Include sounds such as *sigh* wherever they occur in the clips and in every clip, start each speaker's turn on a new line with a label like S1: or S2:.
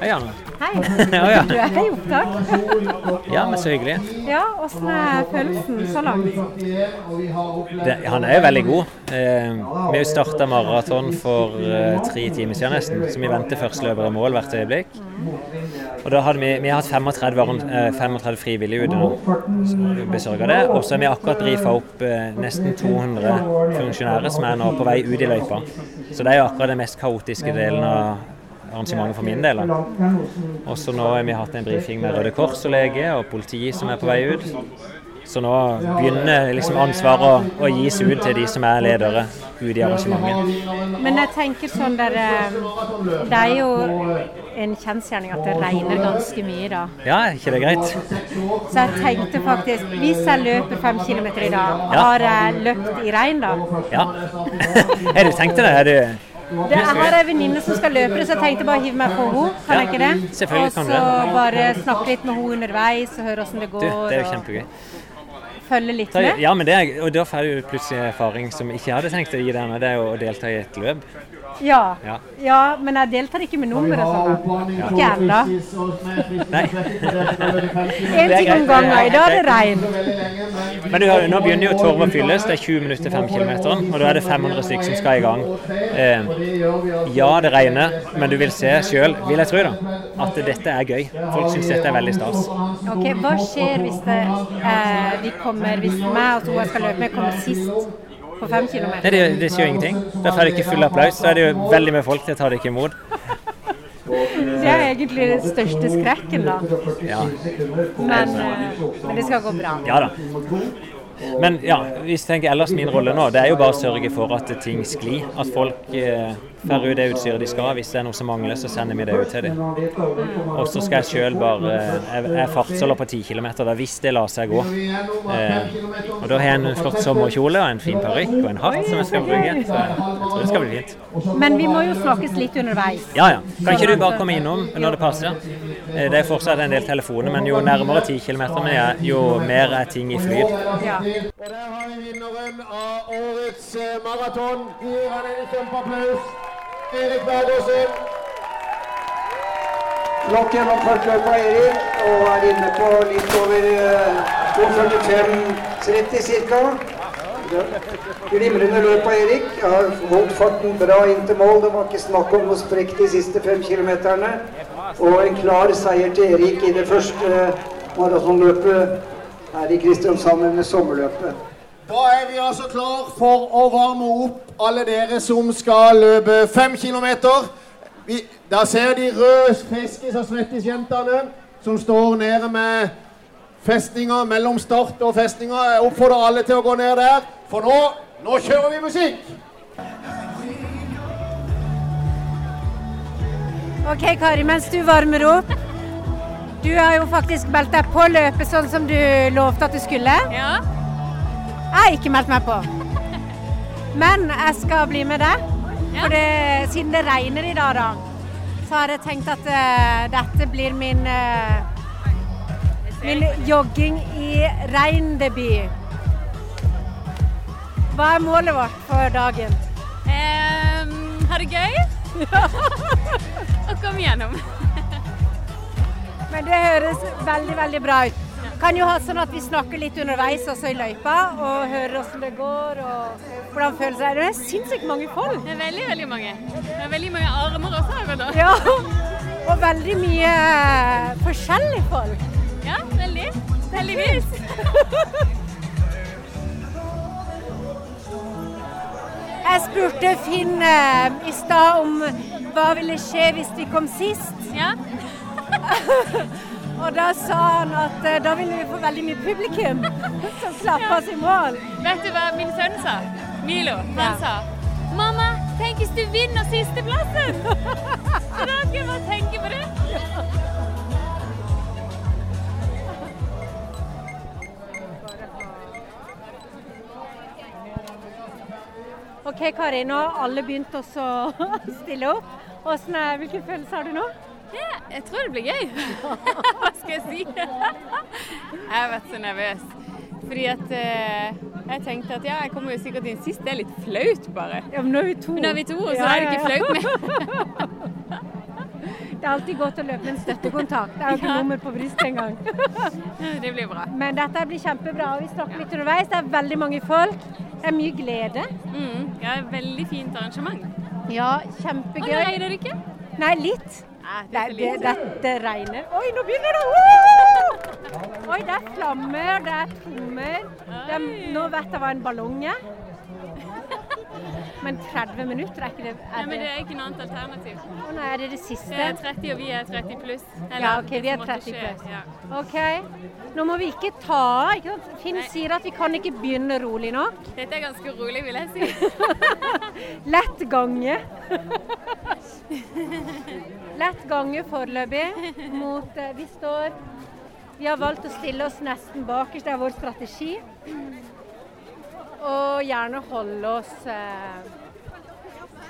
S1: Hei, Anne.
S2: Hei.
S1: Å ja.
S2: Du er i opptak.
S1: Ja, men så hyggelig.
S2: Ja, åssen er følelsen så langt?
S1: Det, han er jo veldig god. Eh, vi starta maraton for eh, tre timer siden nesten, så vi venter førsteløper i mål hvert øyeblikk. Og da hadde vi, vi har hatt 35, varm- eh, 35 frivillige ute nå, som besørger det. Og så har vi akkurat brifa opp eh, nesten 200 funksjonærer som er nå på vei ut i løypa. Så det er jo akkurat den mest kaotiske delen av arrangementet for min del. da. Og så nå har vi hatt en brifing med Røde Kors og lege og politi som er på vei ut. Så nå begynner liksom ansvaret å, å gis ut til de som er ledere ute i arrangementet.
S2: Men jeg tenker sånn der eh, Det er jo en kjensgjerning at det regner ganske mye da.
S1: Ja, er ikke det greit?
S2: Så jeg tenkte faktisk Hvis jeg løper fem kilometer i dag,
S1: Ja.
S2: har jeg løpt i regn da?
S1: Ja. *laughs* Har du tenkt deg det? Er du
S2: Det jeg har ei venninne som skal løpe det, så jeg tenkte bare å hive meg på henne. Kan jeg ikke det?
S1: selvfølgelig kan du det.
S2: Og så bare snakke litt med henne underveis og høre åssen det
S1: Du,
S2: går.
S1: det er jo kjempegøy.
S2: Og følge litt
S1: Da,
S2: med.
S1: ja, men det er, og da får du plutselig erfaring som ikke jeg hadde tenkt å gi deg nå, det er jo å delta i et løp.
S2: Ja.
S1: Ja.
S2: ja. Men jeg deltar ikke med nummer og sånn. da. Ikke ennå.
S1: Nei.
S2: En ting om gangen. I dag er det regn.
S1: Men du, hører, nå begynner jo Torv å fylles. Det er 20 minutter til 5 km, og da er det 500 stykk som skal i gang. Eh, ja, det regner, men du vil se sjøl, vil jeg tro, da, at dette er gøy. Folk syns dette er veldig stas.
S2: Ok, Hva skjer hvis det, eh, vi kommer, hvis meg og Toa skal løpe med, kommer sist på fem
S1: Nei,
S2: kilometer?
S1: det, det skjer jo ingenting. Da får du ikke full applaus. Da er det jo veldig mye folk til å ta det ikke imot.
S2: Det er egentlig den største skrekken, da.
S1: Ja.
S2: Men, eh, men det skal gå bra.
S1: ja da. Men ja, hvis jeg tenker ellers min rolle nå, det er jo bare å sørge for at ting sklir. At folk eh, får ut det utstyret de skal ha. Hvis det er noe som mangler, så sender vi det ut til dem. Og så skal jeg sjøl bare eh, Jeg, jeg fartsholder på 10 km da, hvis det lar seg gå. Eh, og da har jeg en flott sommerkjole og en fin parykk og en hatt som jeg skal bruke. Så jeg, jeg tror det skal bli fint.
S2: Men vi må jo snakkes litt underveis.
S1: Ja ja. Kan ikke du bare komme innom når det passer? Eh, det er fortsatt en del telefoner, men jo nærmere 10 km vi er, jo mer er ting i flyt.
S2: Ja.
S3: altså Og der har vi vinneren av årets eh, maraton. Gir han en kjempeapplaus. Erik Bergersen.
S4: Nok en oppfartsløp av Erik, og er inne på litt over eh, 2.45,30 ca. Glimrende løp av Erik. Har holdt farten bra inn til mål. Det var ikke snakk om noe sprekk de siste fem kilometerne. Og en klar seier til Erik i det første eh, maratonløpet her i Kristiansand under sommerløpet.
S3: Da er vi altså klar for å varme opp alle dere som skal løpe fem kilometer. Vi, da ser de røde feskes og svettes jentene som står nede med festninger mellom start og festninger. Jeg oppfordrer alle til å gå ned der, for nå, nå kjører vi musikk!
S2: Ok, Kari, mens du varmer opp. Du har jo faktisk meldt deg på løpet sånn som du lovte at du skulle.
S5: Ja,
S2: Jeg har ikke meldt meg på. Men jeg skal bli med deg. For det, siden det regner i dag, da, så har jeg tenkt at eh, dette blir min, eh, min jogging i regndebut. Hva er målet vårt for dagen?
S5: Ehm, ha det gøy. *laughs* og kom gjennom.
S2: Men det høres veldig, veldig bra ut. Kan jo ha sånn at vi snakker litt underveis også i løypa, og hører åssen det går og hvordan føles det. Det er sinnssykt mange folk.
S5: Det er veldig, veldig mange. Det er veldig mange armer også her vel da.
S2: Ja. Og veldig mye eh, forskjellige folk.
S5: Ja, veldig. Heldigvis.
S2: *laughs* Jeg spurte Finn eh, i stad om hva ville skje hvis vi kom sist.
S5: Ja.
S2: Og da sa han at eh, da ville vi få veldig mye publikum *laughs* som slapp oss i mål.
S5: Vet du hva min sønn sa? Milo.
S2: Ja.
S5: Han sa Mamma, tenk hvis du vinner sisteplassen! Så da skal jeg bare tenke på det.
S2: OK, Kari, nå har alle begynt også å *laughs* stille opp. Åssen er, hvilke følelser har du nå?
S5: Ja, jeg tror det blir gøy. *laughs* Hva skal jeg si? Jeg har vært så nervøs. Fordi at eh, jeg tenkte at ja, jeg kommer jo sikkert inn sist. Det er litt flaut, bare.
S2: Ja, men nå er vi to. *laughs*
S5: Men nå er vi to, så da er det ikke flaut mer.
S2: Det er alltid godt å løpe med en støttekontakt. Jeg har ikke
S5: Ja.
S2: nummer på brystet engang.
S5: *laughs* Det blir bra.
S2: Men dette blir kjempebra. og Vi snakker litt underveis. Det er veldig mange folk. Det er mye glede.
S5: Mm, ja, veldig fint arrangement.
S2: Ja,
S5: Og
S2: kjempegøy.
S5: det regner ikke?
S2: Nei, litt.
S5: Nei, det
S2: Nei,
S5: er så
S2: det,
S5: lite.
S2: dette regner. Oi, nå begynner det! Woo! Oi, det er flammer, det er trommer. Det er, nå vet jeg hva en ballong er. Men 30 minutter, er ikke det
S5: Nei,
S2: er
S5: men det
S2: det,
S5: er ikke noe annet alternativ.
S2: Å nei, er det det
S5: Det
S2: siste?
S5: er 30, og vi er 30 pluss. Eller,
S2: Ja, OK, vi er
S5: det som måtte
S2: 30
S5: skje,
S2: pluss.
S5: Ja.
S2: OK. Nå må vi ikke ta av. ikke sant? Finn
S5: Nei.
S2: sier at vi kan ikke begynne rolig nå.
S5: Dette er ganske rolig, vil
S2: *laughs*
S5: jeg si.
S2: Lett gange. *laughs* Lett gange foreløpig mot eh, Vi står Vi har valgt å stille oss nesten bakerst, det er vår strategi. Og gjerne holde oss eh,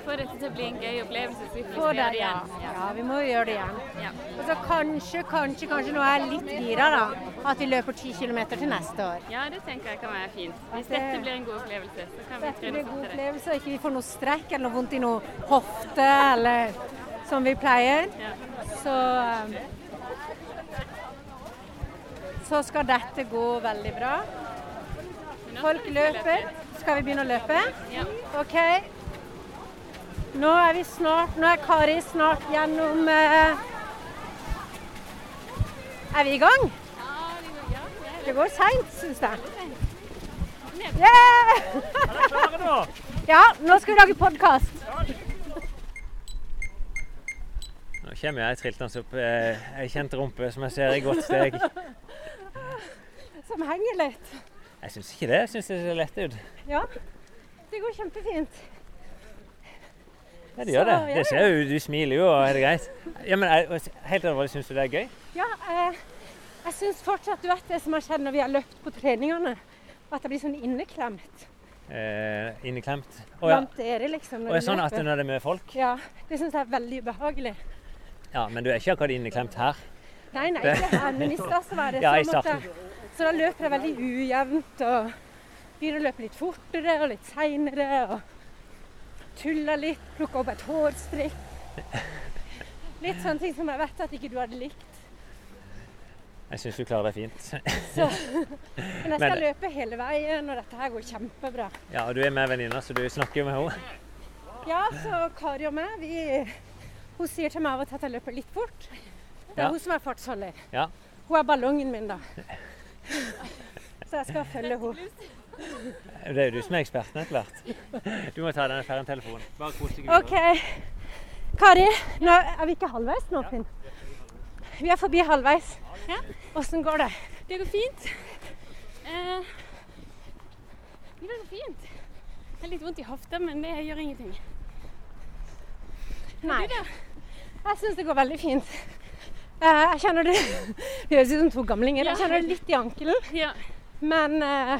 S5: Få dette til å bli en gøy opplevelse, så vi får
S2: på
S5: lyst til å gjøre
S2: der,
S5: det
S2: ja.
S5: igjen. Ja.
S2: ja. Vi må jo gjøre det igjen.
S5: Ja.
S2: Og så kanskje, kanskje, kanskje nå er jeg litt gira, da. At vi løper 10 km til neste år.
S5: ja, det tenker jeg kan være fint. Hvis
S2: Ja, det-
S5: dette blir en god opplevelse, så kan vi
S2: Dette blir
S5: trene
S2: en
S5: oss
S2: god
S5: opp til det.
S2: opplevelse, og ikke vi får noe strekk eller noe vondt i noe hofte eller som vi pleier.
S5: Ja.
S2: Så um, så skal dette gå veldig bra.
S5: Men nå
S2: Folk
S5: skal vi løpe
S2: løper.
S5: litt.
S2: Skal vi begynne å løpe?
S5: Ja.
S2: OK. Nå er vi snart Nå er Kari snart gjennom eh, Er vi i gang?
S5: Ja, vi må- ja, det er
S2: Det går seint, syns jeg.
S5: Ned.
S2: Yeah!
S5: *laughs*
S2: *laughs* Ja, nå skal vi lage podkast.
S1: Nå kommer jeg triltende opp eh, ei kjent rumpe som jeg ser i godt steg.
S2: Som henger litt.
S1: Jeg syns ikke det. Jeg syns det ser lett ut.
S2: Ja, det går kjempefint.
S1: Ja, det gjør det.
S2: Så, ja,
S1: Det ser jo, Du smiler jo, og er det greit? Ja, men jeg, altså, Helt alvorlig, syns du det er gøy?
S2: Ja, eh, jeg syns fortsatt du vet det som har skjedd når vi har løpt på treningene. At jeg blir sånn inneklemt
S1: Eh, inneklemt? Å ja.
S2: blant dere, liksom.
S1: Og er sånn at når det er mye folk?
S2: Ja, det syns jeg er veldig ubehagelig.
S1: Ja, men du er ikke akkurat inneklemt her.
S2: Nei, nei, ikke her, men i stad så var det
S1: Ja, i
S2: sånn at jeg, Så da løper jeg veldig ujevnt og begynner å løpe litt fortere og litt seinere og tuller litt, plukker opp et hårstrikk. Litt sånne ting som jeg vet at ikke du hadde likt.
S1: Jeg syns du klarer deg fint. *laughs*
S2: Men jeg skal
S1: Men-
S2: løpe hele veien, og dette her går kjempebra.
S1: Ja, og du er med venninna, så du snakker jo med henne.
S2: Ja, så Kari og meg, vi, hun sier til meg av og til at jeg løper litt fort. Det er
S1: Ja.
S2: hun som er fartsholder.
S1: Ja.
S2: Hun er ballongen min, da. Så jeg skal følge henne.
S1: Det er jo du som er eksperten etter hvert. Du må ta denne færentelefonen. Bare kos deg.
S2: OK. Kari, nå er vi ikke halvveis nå, Finn? Vi er forbi halvveis.
S5: Ja.
S2: Åssen går det?
S5: Det går fint. Eh, det går fint. Jeg har litt vondt i hofta, men det gjør ingenting.
S2: Nei. Jeg syns det går veldig fint. Eh, Jeg kjenner det *laughs* Det høres ut som to gamlinger. Jeg kjenner det litt i ankelen.
S5: Ja.
S2: Men, eh,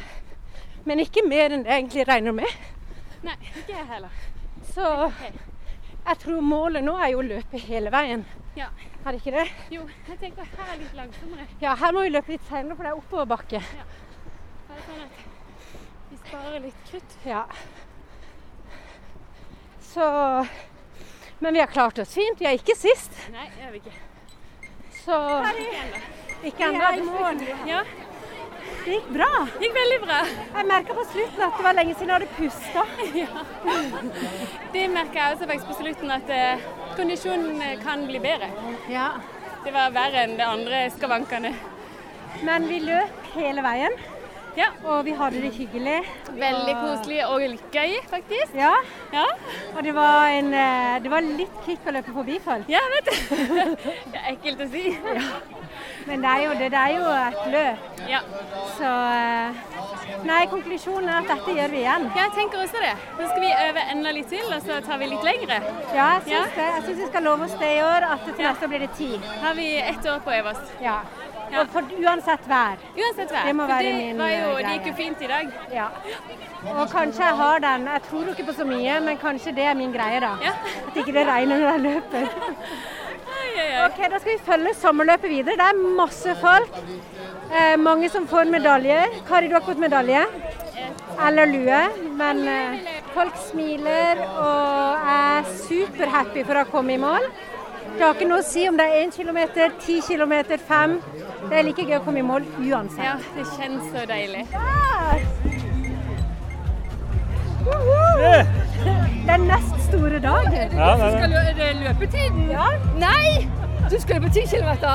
S2: men ikke mer enn det jeg egentlig regner med.
S5: Nei, ikke jeg heller.
S2: Så jeg tror målet nå er jo å løpe hele veien.
S5: Ja.
S2: Er det ikke det?
S5: Jo, jeg tenker her er litt langsommere.
S2: Ja, her må vi løpe litt senere, for det er oppoverbakke.
S5: Det er sånn at vi sparer litt krutt.
S2: Ja. Så Men vi har klart oss fint. Vi er ikke sist,
S5: Nei, det gjør vi ikke.
S2: så Ikke ennå. i morgen.
S5: Ja,
S2: Det gikk bra.
S5: det gikk veldig bra.
S2: Jeg merka på slutten at det var lenge siden jeg hadde pusta.
S5: Det merker jeg også faktisk på slutten, at eh, kondisjonen eh, kan bli bedre.
S2: Ja.
S5: Det var verre enn det andre skavankene.
S2: Men vi løp hele veien,
S5: Ja,
S2: og vi hadde det hyggelig.
S5: veldig koselig og gøy, faktisk.
S2: Ja.
S5: Ja,
S2: Og det var, en, eh, det var litt kick å løpe forbi folk.
S5: ja vet du. *laughs* Det er ekkelt å si.
S2: Men det er jo, det, det er jo et løp.
S5: Ja.
S2: Så eh, Nei, konklusjonen er at dette gjør vi igjen.
S5: Ja, jeg tenker også det. Så skal vi øve enda litt til, og så tar vi litt lengre.
S2: Ja, jeg syns
S5: Ja.
S2: det. Jeg syns vi skal love oss det i år, at til neste år blir det ti.
S5: Har vi ett år på å øve oss.
S2: Ja.
S5: Ja.
S2: Og for uansett vær.
S5: Uansett vær.
S2: Det må
S5: for
S2: være
S5: det
S2: min,
S5: var jo,
S2: eh,
S5: Det gikk jo fint i dag.
S2: Ja. Og kanskje jeg har den. Jeg tror ikke på så mye, men kanskje det er min greie, da.
S5: Ja.
S2: At ikke det regner når jeg løper.
S5: Oi, oi, oi.
S2: OK, da skal vi følge sommerløpet videre. Det er masse folk. Eh, mange som får medaljer. Kari, du har ikke fått medalje. Eller lue. Men eh, folk smiler og er superhappy for å ha kommet i mål. Det har ikke noe å si om det er 1 km, 10 km, 5 Det er like gøy å komme i mål uansett.
S5: Ja, det kjennes så deilig.
S2: Ja. Woho! Den nest store dagen.
S1: Ja, det er det.
S6: Skal lø- er det løpetiden?
S2: Ja.
S6: Nei! Du skulle på 10 km.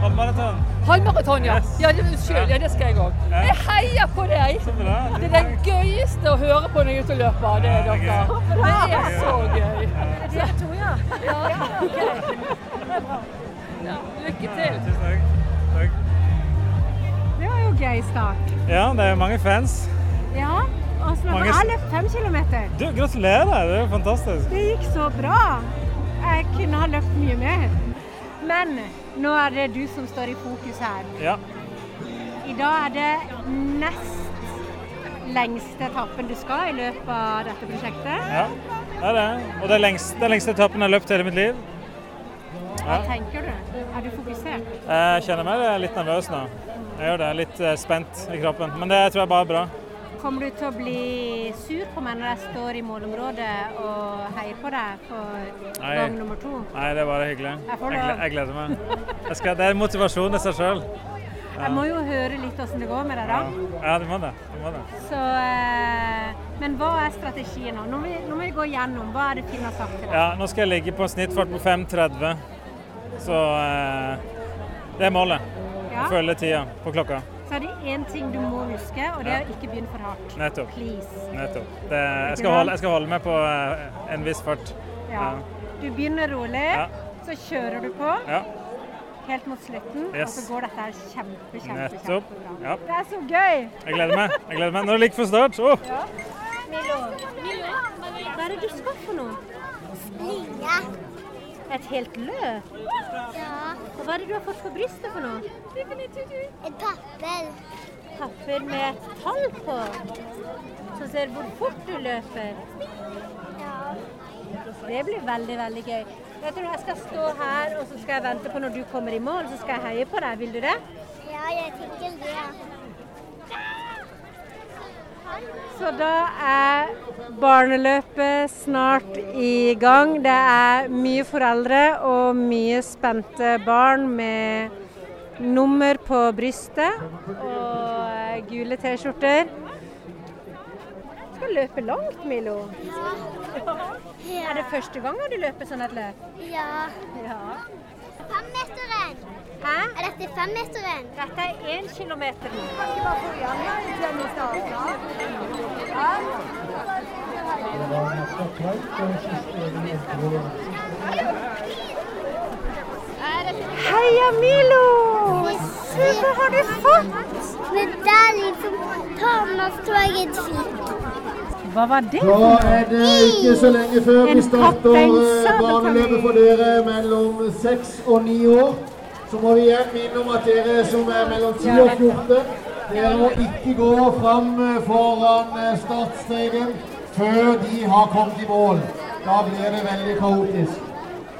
S1: Halvmaraton.
S6: Halvmaraton, ja.
S1: Yes.
S6: Ja, det, unnskyld, ja, det skal jeg òg.
S1: Ja.
S6: Jeg heier på deg!
S1: Så bra.
S6: Det er det gøyeste å høre på når jeg er ute og løper. Det er
S1: Ja, det er
S6: dere. Det er så gøy.
S2: Jeg tror, ja.
S6: Ja, ok. Ja, lykke til.
S1: Tusen takk. takk.
S2: Det var jo gøy start.
S1: Ja, det er mange fans.
S2: Ja. Åslo,
S1: Mange-
S2: jeg har løpt fem kilometer.
S1: Du, gratulerer. Det er jo fantastisk.
S2: Det gikk så bra. Jeg kunne ha løpt mye mer. Men nå er det du som står i fokus her.
S1: Ja.
S2: I dag er det nest lengste etappen du skal i løpet av dette prosjektet.
S1: ja. Det er det. Og det er lengst, den lengste etappen jeg har løpt hele mitt liv.
S2: Hva tenker du? Er du fokusert?
S1: Jeg kjenner meg litt nervøs nå. Jeg gjør det. Litt eh, spent i kroppen. Men det tror jeg bare er bra.
S2: Kommer du til å bli sur på meg når jeg står i målområdet og heier på deg for
S1: Nei.
S2: gang nummer to?
S1: Nei, det er bare hyggelig.
S2: Jeg får
S1: Jeg, gle-
S2: lov.
S1: jeg gleder meg. Jeg skal, det er motivasjon i seg sjøl.
S2: Jeg må jo høre litt åssen det går med deg,
S1: Ja,
S2: da.
S1: ja du, må det. du må det.
S2: Så, eh, men hva er strategien nå? Nå må, vi, nå må vi gå gjennom. Hva er det Finn har sagt til deg?
S1: Ja, nå skal jeg ligge på en snittfart på 5.30. Så eh, det er målet.
S2: Ja.
S1: Følge tida på klokka.
S2: Så er det én ting du må huske, og det er å ikke begynne for hardt.
S1: Nettopp.
S2: Please.
S1: Nettopp. Det, jeg, skal holde, jeg skal holde meg på eh, en viss fart.
S2: Ja. Du begynner rolig,
S1: Ja.
S2: så kjører du på
S1: Ja.
S2: helt mot slutten, og
S1: Yes.
S2: så går dette her kjempe, kjempe,
S1: Nettopp.
S2: kjempebra.
S1: Ja.
S2: Det er så gøy!
S1: Jeg gleder meg. Jeg gleder meg. Nå er det like for start. Åh!
S2: Hva er det du skal for noe?
S7: Springe.
S2: Et helt løp?
S7: Ja.
S2: Og hva er det du har fått på brystet for noe?
S7: En pappel.
S2: Papper med et tall på, som ser hvor fort du løper.
S7: Ja.
S2: Det blir veldig, veldig gøy. Vet du, Jeg skal stå her og så skal jeg vente på når du kommer i mål, så skal jeg heie på deg. Vil du det?
S7: ja, jeg tenker det.
S2: Så da er barneløpet snart i gang. Det er mye foreldre og mye spente barn med nummer på brystet og eh, gule T-skjorter. Du skal løpe langt, Milo.
S7: Ja.
S2: Er det
S7: Ja.
S2: første gang du løper sånn et løp?
S7: ja.
S2: Ja.
S7: Femmeteren.
S2: Hæ?
S7: Er dette femmeteren?
S2: Dette er én kilometer. Heia Milo! Se hva har du fått!
S7: Medaljen som Thomas-toget fikk.
S2: Hva var det?
S3: Da er det ikke så lenge før
S2: En
S3: vi starter
S2: kapteinsadel
S3: eh,
S2: kan
S3: barneløpet
S2: vi-
S3: for dere mellom 6 og 9 år. Så må vi igjen minne om at dere som er mellom 10 og 14, dere må ikke gå fram eh, foran eh, startstreken før de har kommet i mål. Da blir det veldig kaotisk.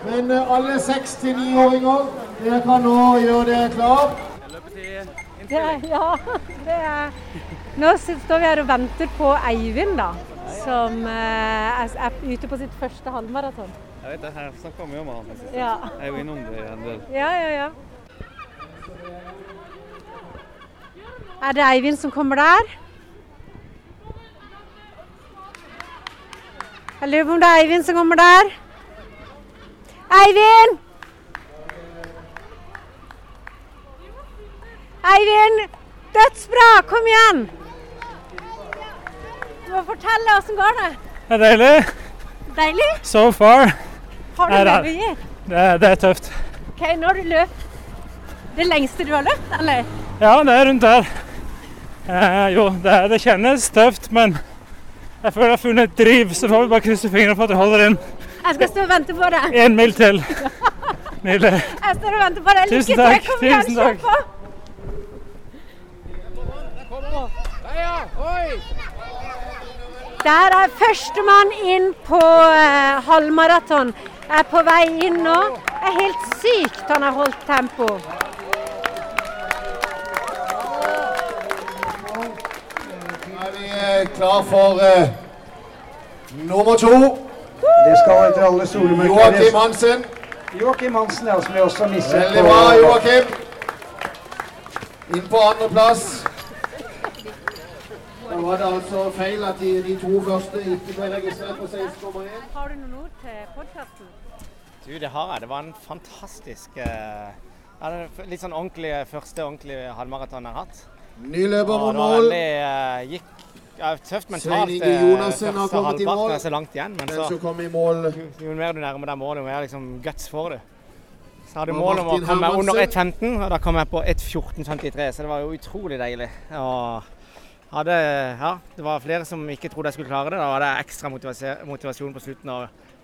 S3: Men eh, alle 6 til 9-åringer, dere kan nå gjøre dere klar.
S2: Det er, ja, det er. Nå sit- står vi her og venter på Eivind, da. Som eh, er er ute på sitt første halvmaraton.
S8: Jeg vet det, jeg snakka mye med han. Jeg synes.
S2: Ja.
S8: Jeg er jo innom det en del.
S2: ja, ja, ja. Er det Eivind som kommer der? Jeg lurer på om det er Eivind som kommer der. Eivind! Eivind! Dødsbra! Kom igjen! Du må fortelle åssen går det.
S1: Det er deilig.
S2: Deilig?
S1: So far.
S2: Har
S1: Nei,
S2: du
S1: det er-
S2: mye?
S1: Det er, det er tøft.
S2: Ok, nå har du løpt det lengste du har løpt, eller?
S1: Ja, det er rundt der. Eh, jo, det, er, det kjennes tøft, men jeg føler jeg har funnet et driv, så får vi bare krysse fingrene for at jeg holder inn
S2: Jeg skal stå og vente på deg.
S1: én mil til.
S9: *laughs*
S1: Nydelig.
S2: Jeg står og venter på deg. Lykke
S1: Tusen
S2: til.
S1: takk,
S2: Kom igjen,
S1: tusen
S2: kjør
S1: takk.
S2: på. Der er førstemann inn på eh, halvmaraton. Er på vei inn nå. Det er helt sykt han har holdt tempo.
S3: Nå er vi eh, klar for eh, nummer to.
S4: Det skal etter alle solemerker
S3: Joakim Hansen.
S4: Joakim Hansen, ja, som jeg også har mistet.
S3: Veldig
S4: på-
S3: bra, Joakim. Inn på andreplass. Da var det altså feil at de, de to første ikke ble registrert på 16,1.
S2: Har du noen ord til podkasten?
S9: Du, det har jeg. Det var en fantastisk eh, ja, det er Litt sånn ordentlig, første ordentlige halvmaraton jeg har hatt.
S3: Ny løper
S9: Og
S3: mot
S9: det var
S3: mål.
S9: veldig, eh, gikk ja, tøft
S3: Svein
S9: mentalt.
S3: Inge
S9: eh,
S3: Jonassen har
S9: første
S3: kommet i mål.
S9: halvparten er så langt igjen, men
S3: Den
S9: så
S3: som kom i mål
S9: jo mer du nærmer deg målet, jo mer liksom guts får du. Så hadde
S3: Og
S9: jeg mål om å
S3: Martin
S9: komme
S3: Hermansen.
S9: under 1,15, og da kom jeg på 1,14,53, så det var jo utrolig deilig. Og hadde, ja, det var flere som ikke trodde jeg skulle klare det. Da var det ekstra motivase- motivasjon på slutten å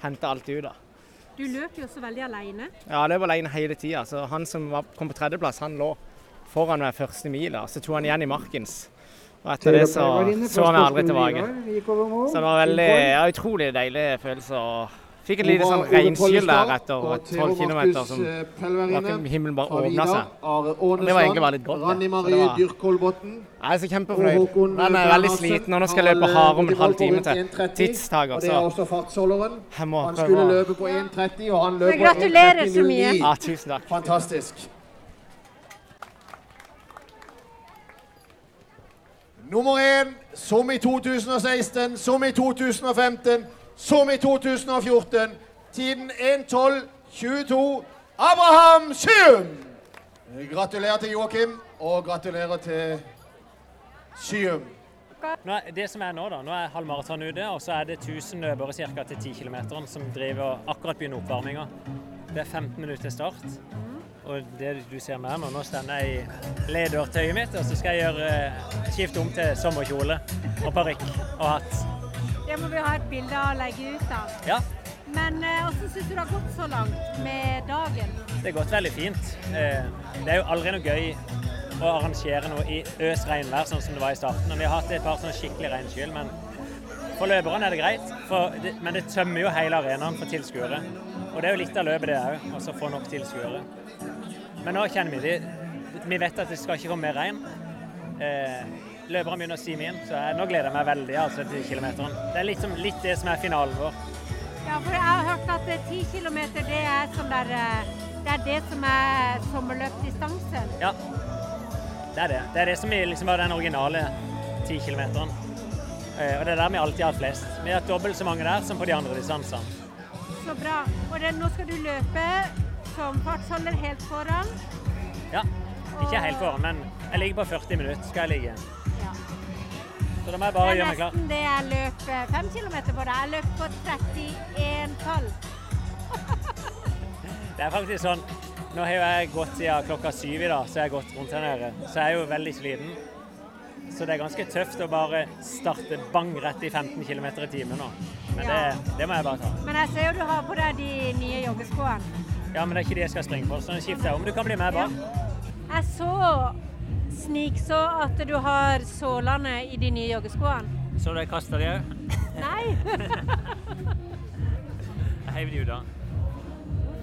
S9: hente alt ut. da.
S2: Du løp jo så veldig aleine.
S9: Ja, det var alene hele tida. Så han som var, kom på tredjeplass, han lå foran meg første mila. Så tok han igjen i markens. Og etter det så
S4: Var inne på
S9: så han meg aldri
S4: sporten
S9: tilbake.
S4: Vidar, gikk over mål.
S9: Så det var veldig ja, utrolig deilig følelse. Og fikk et lite
S3: Ove-
S9: sånn
S3: Ove
S9: regnskyll
S3: Pollestad
S9: der etter
S3: og Theo
S9: 12 km
S3: Markus,
S9: som
S3: eh,
S9: da
S3: Pelverine.
S9: kunne himmelen bare
S3: Fra
S9: åpna
S3: Vidar,
S9: seg.
S3: Are
S9: Og det var egentlig bare litt godt, det.
S3: Ånesland, Ranni
S9: Så
S3: Marie
S9: det var-
S3: Dyrkolbotn.
S9: Jeg er så
S3: Og
S9: kjempefornøyd.
S3: Håkon
S9: Men jeg er veldig
S3: Bernhardsen.
S9: sliten, og nå skal jeg
S3: Han
S9: løpe
S3: har eh,
S9: hare om en
S3: løpt
S9: halv
S3: i mål
S9: time
S3: på
S9: til.
S3: 1.30, Og
S9: Tidstager,
S3: det er
S9: så
S3: også fartsholderen.
S9: jeg må
S3: Han skulle
S9: prøve å
S3: løpe på 1.30, og han løp
S2: Men
S3: på
S2: gratulerer så mye.
S3: 1.39,09.
S9: Ja, tusen takk.
S3: Fantastisk. Nummer én, som i 2016, som i 2015, som i 2014. Tiden 1.12,22. Abraham Syum! Gratulerer til Joakim, og gratulerer til Syum.
S1: Nå, er- det som er nå, da, nå er halv maraton ute, og så er det 1000 løpere cirka til 10 km som driver og akkurat begynner oppvarminga. Det er 15 minutter til start. Og det du ser med her nå, nå stender jeg i ledertøyet mitt, og så skal jeg gjøre eh, skifte om til sommerkjole og parykk og hatt.
S2: Det må vi ha et bilde av og legge ut av.
S1: Ja,
S2: Men eh, hvordan syns du det har gått så langt med dagen?
S1: det har gått veldig fint. Eh, Det er jo aldri noe gøy å arrangere noe i øs regnvær, sånn som det var i starten. Og vi har hatt et par sånne skikkelig regnskyll, men for løperne er det greit. For det, men det tømmer jo hele arenaen for tilskuere. Og det er jo litt av løpet, det òg, å få nok tilskuere. Men nå kjenner vi det. Vi vet at det skal ikke komme mer regn. Eh, løperne begynner å stime inn, så jeg, nå gleder jeg meg veldig altså, til kilometeren. Det er liksom litt det som er finalen vår.
S2: Ja, for jeg har hørt at eh, 10 km det er sånn der eh, Det er det som er sommerløpdistansen.
S1: Ja, det er det. Det er det som er liksom var den originale 10 kilometeren. Eh, Og det er der vi alltid har hatt flest. Vi har hatt dobbelt så mange der som på de andre distansene.
S2: Så bra. Og det, nå skal du løpe som fartsholder helt foran.
S1: Ja, ikke helt foran, men jeg ligger på 40 minutter, skal jeg ligge.
S2: Ja.
S1: Så da må jeg
S2: Det
S1: bare
S2: er
S1: gjøre meg klar.
S2: nesten det jeg løp eh, 5 km på. da. Jeg løp på 31,5.
S1: Det er faktisk sånn, nå har jo jeg gått siden klokka syv i dag, så jeg har gått rundt her nede. Så jeg er jo veldig sliten. Så det er ganske tøft å bare starte bang rett i 15 km i timen nå. Men det,
S2: Ja.
S1: det må jeg bare ta.
S2: Men jeg ser jo du har på deg de nye joggeskoene.
S1: Ja, men det er ikke det jeg skal springe for, så nå skifter jeg om. Du kan bli med
S2: Ja.
S1: bak.
S2: Jeg så snikså at du har sålene i de nye joggeskoene.
S1: Så du jeg kastet de òg?
S2: Nei,
S1: Jeg heiv de ut da.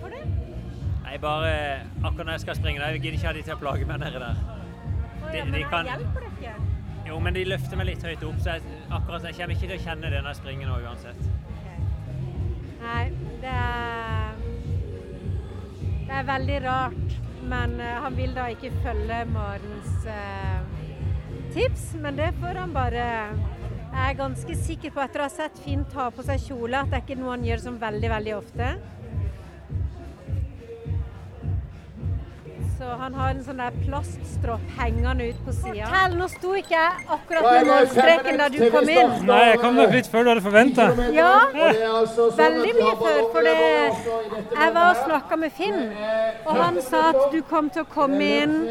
S2: hvorfor det?
S1: Nei, bare akkurat når jeg skal springe der, jeg gidder ikke ha de til å plage meg nede der.
S2: Å,
S1: De-
S2: ja,
S1: de
S2: men her
S1: kan-
S2: hjelper det ikke.
S1: Jo, men de løfter meg litt høyt opp, så jeg, akkurat jeg kommer ikke til å kjenne det når jeg springer nå uansett.
S2: Nei, det er, det er veldig rart. Men eh, han vil da ikke følge Marens eh, tips, men det får han bare Jeg er ganske sikker på, etter å ha sett Finn ta på seg kjole, at det er ikke noe han gjør som veldig, veldig ofte. Så han har en sånn der plaststropp hengende ut på sida. Fortell, nå sto ikke jeg akkurat
S3: Da er
S2: ved
S3: det fem
S2: målstreken da
S3: minutter
S2: du
S3: til vi
S2: kom inn.
S3: starter.
S10: Nei, jeg kom nok litt før du hadde forventa.
S2: Ja,
S3: Og det er altså sånn at
S2: Veldig
S3: vi
S2: mye
S3: har
S2: før, for det,
S3: ballonglever også i dette
S2: jeg var og
S3: løpet her.
S2: snakka med Finn, og han sa at du kom til å komme inn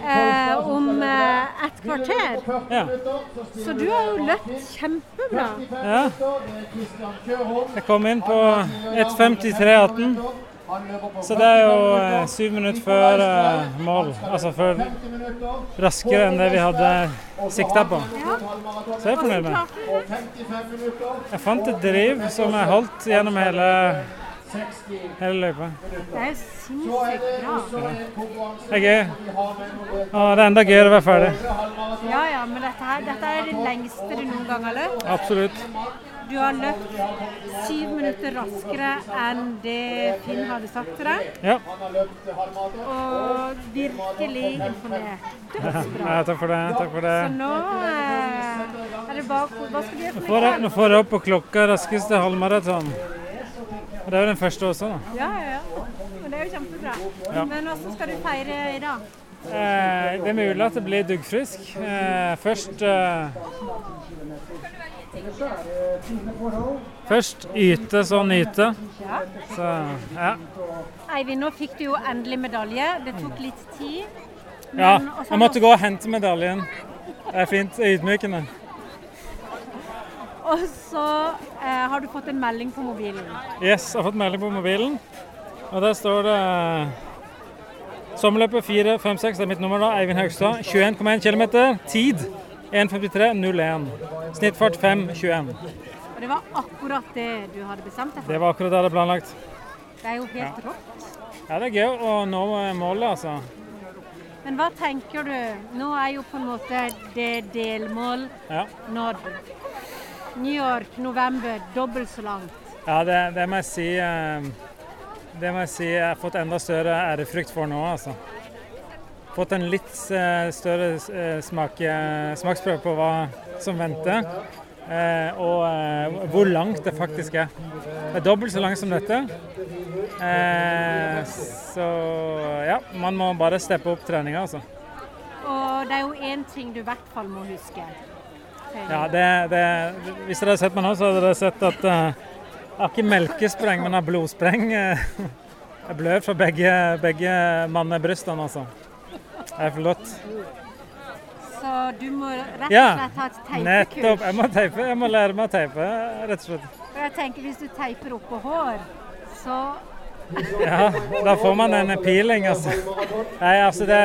S2: eh, om eh, et kvarter.
S10: Ja.
S2: Så du har jo løpt kjempebra.
S10: ja. Jeg kom inn på 1.53,18, så det er jo eh, syv minutter før eh, mål. Altså før raskere enn det vi hadde sikta på.
S2: Ja.
S10: Så jeg er fornøyd med.
S2: Klarte du det?
S10: Jeg fant et driv som jeg holdt gjennom hele, hele løypa.
S2: Det er jo sinnssykt bra.
S10: Det er gøy. Og det er enda gøyere å være ferdig.
S2: Ja ja, men dette, her, dette er det lengste du noen gang har løpt.
S10: Absolutt.
S2: Du har løpt syv minutter raskere enn det Finn hadde sagt til deg.
S10: Ja.
S2: Og virkelig imponert. Dødsbra.
S10: ja, takk for det. Takk for
S2: Så
S10: det.
S2: nå eh, er det bare Hva skal du gjøre
S10: Nå
S2: for
S10: får jeg, nå
S2: noe?
S10: får jeg opp på klokka raskeste halvmaraton. Og det er jo den første også, da.
S2: Ja, ja, ja. Men det er jo kjempebra.
S10: Ja.
S2: Men hvordan skal du feire i dag?
S10: Eh, det er mulig at det blir duggfrisk. Eh, først eh, Først yte, så nyte.
S2: Ja.
S10: Så ja.
S2: Eivind, nå fikk du jo endelig medalje. Det tok litt tid.
S10: ja.
S2: Men- og så-
S10: Jeg måtte gå og hente medaljen. Det er fint. Det er Ydmykende.
S2: Og så eh, har du fått en melding på mobilen.
S10: Yes, jeg har fått melding på mobilen. Og der står det eh, Sommerløpet 456, det er mitt nummer da, Eivind Haugstad. 21,1 km. Tid 1.53,01. Snittfart 5,21.
S2: Og det var akkurat det du hadde bestemt deg for.
S10: Det var akkurat det jeg hadde planlagt.
S2: Det er jo helt rått.
S10: Ja, det er gøy å nå målet, altså.
S2: Men hva tenker du? Nå er jo på en måte det delmål
S10: Ja,
S2: nådd. New York, november, dobbelt så langt.
S10: ja det, det må jeg si eh, Det må jeg si jeg har fått enda større ærefrykt for nå, altså. Fått en litt eh, større eh, smake, smaksprøve på hva som venter. eh, Og eh, hvor langt det faktisk er. Det er dobbelt så langt som dette. Eh, Så ja, man må bare steppe opp treninga, altså.
S2: Og det er jo én ting du i hvert fall må huske.
S10: Ja, det, det, hvis dere har sett meg nå, så hadde dere sett at eh, jeg har ikke melkespreng, men jeg har blodspreng. *laughs* eh. jeg blør fra begge, begge mannebrystene, altså. Det er flott.
S2: Så du må rett og
S10: Ja,
S2: slett ta et
S10: nettopp.
S2: teipekurs.
S10: Jeg må teipe. Jeg må lære meg å teipe, rett og slett.
S2: For jeg tenker hvis du teiper oppå hår, så
S10: Ja, da får man en peeling, altså. Nei, altså det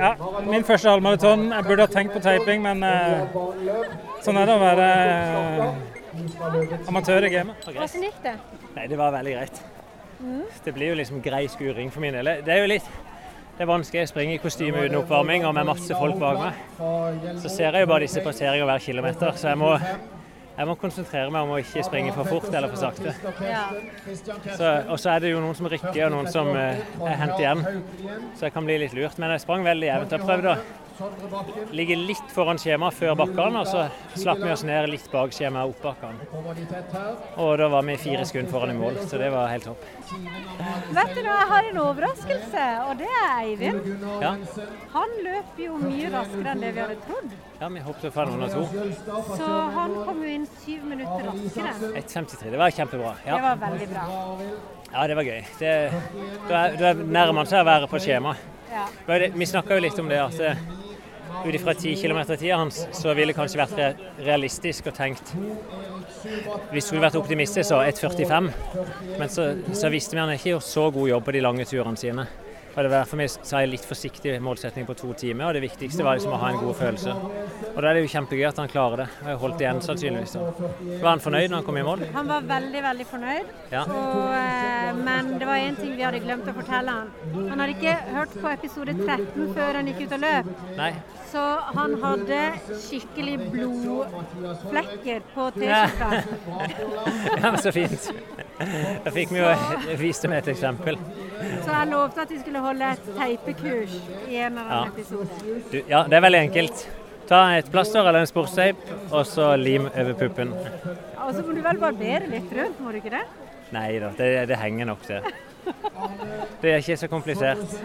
S10: Ja, min første halvmaraton. Jeg burde ha tenkt på teiping, men eh, sånn er det å være eh, amatør i gamet.
S2: Hvordan gikk det?
S1: Nei, det var veldig greit. Det blir jo liksom grei skuring for min del. Det er jo litt det er vanskelig å springe i kostyme uten oppvarming og med masse folk bak meg. Så ser jeg jo bare disse passeringene hver kilometer, så jeg må, jeg må konsentrere meg om å ikke springe for fort eller for sakte. Så, og så er det jo noen som rykker og noen som eh, er hentet igjen, så jeg kan bli litt lurt. Men jeg sprang veldig jevnt. Jeg prøvde å ligge litt foran skjemaet før bakkene, og så slapp vi oss ned litt bak skjemaet opp bakkene. Og da var vi fire sekunder foran i mål, så det var helt topp.
S2: Vet du hva, jeg har en overraskelse, og det er Eivind.
S1: Ja,
S2: Han løper jo mye raskere enn det vi hadde trodd.
S1: ja vi hoppet fra noen og to.
S2: Så han kom jo inn syv minutter raskere.
S1: 1,53. Det var kjempebra.
S2: Det
S1: Ja,
S2: var veldig bra.
S1: ja det var gøy. Det, da, er- da nærmer man seg å være på skjema.
S2: Ja.
S1: Det var jo det- Vi snakka jo litt om det at eh, ut ifra 10 km-tida hans, så ville det kanskje vært re- realistisk og tenkt Vi skulle vært optimister, så 1,45. Men så, så visste vi han ikke gjorde så god jobb på de lange turene sine. Og Det var derfor vi sa en litt forsiktig målsetting på to timer, og det viktigste var liksom å ha en god følelse. Og Da er det jo kjempegøy at han klarer det. Og jeg holdt igjen sannsynligvis. da. Var han fornøyd når han kom i mål?
S2: Han var veldig, veldig fornøyd.
S1: Ja.
S2: Og, eh, men det var én ting vi hadde glemt å fortelle han. Han hadde ikke hørt på episode 13 før han gikk ut og løp.
S1: Nei.
S2: Så han hadde skikkelig blodflekker på T-skjorta.
S1: *laughs* Ja, men så fint. Da fikk vi jo vist dem et eksempel.
S2: Så jeg lovte at vi skulle holde et teipekurs i en eller annen
S1: Ja.
S2: episode.
S1: Du, ja, det er veldig enkelt. Ta et plaster eller en sportsteip, og så lim over puppen.
S2: Og så må du vel barbere litt rundt, må du ikke det?
S1: Nei da, det, det henger nok til. Det er ikke så komplisert.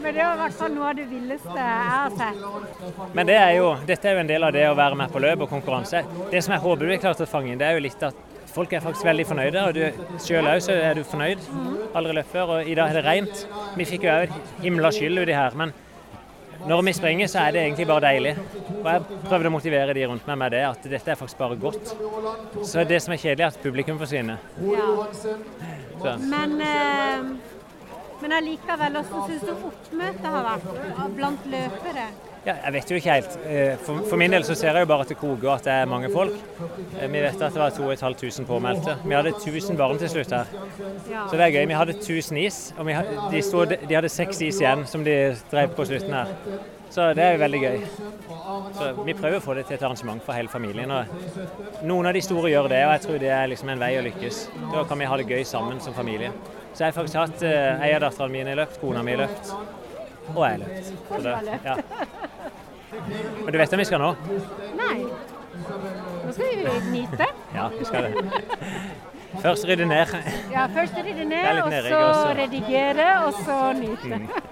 S2: Men det var i hvert fall noe av det villeste jeg har sett.
S1: Men det er jo, dette er jo en del av det å være med på løp og konkurranse. Det som jeg håper du har klart å fange inn, det er jo litt at folk er faktisk veldig fornøyde. Og du sjøl òg, så er du fornøyd. Aldri løpt før, og i dag er det rent. Vi fikk jo òg et himla skyld uti her, men når vi springer, så er det egentlig bare deilig. Og jeg prøvde å motivere de rundt meg med det, at dette er faktisk bare godt. Så det som er kjedelig, er at publikum forsvinner. Så.
S2: Men, eh, men allikevel, hvordan syns du oppmøtet har vært av- blant løpere?
S1: Ja, jeg vet jo ikke helt. Eh, For, for min del så ser jeg jo bare at det koker og at det er mange folk. Eh, Vi vet at det var 2500 påmeldte. Vi hadde 1000 barn til slutt her.
S2: Ja.
S1: Så det er gøy. Vi hadde 1000 is, og vi, ha- de, stod, de hadde seks is igjen som de drev på slutten her. Så det er veldig gøy. Så vi prøver å få det til et arrangement for hele familien. Og noen av de store gjør det, og jeg tror det er liksom en vei å lykkes. Da kan vi ha det gøy sammen som familie. Så jeg har faktisk hatt eh, ei av datterne mine har løpt, kona mi har løpt, og jeg har løpt. Så
S6: Kan du
S1: det-
S6: ha løpt?
S1: ja. Men du vet hvem vi skal nå?
S2: Nei. Nå skal vi nyte.
S1: Ja, vi skal det. Først rydde ned.
S2: Ja, først rydde
S1: Det er
S2: ned,
S1: litt
S2: og
S1: nedrigg
S2: så
S1: også.
S2: redigere, og så nyte.
S1: Mm.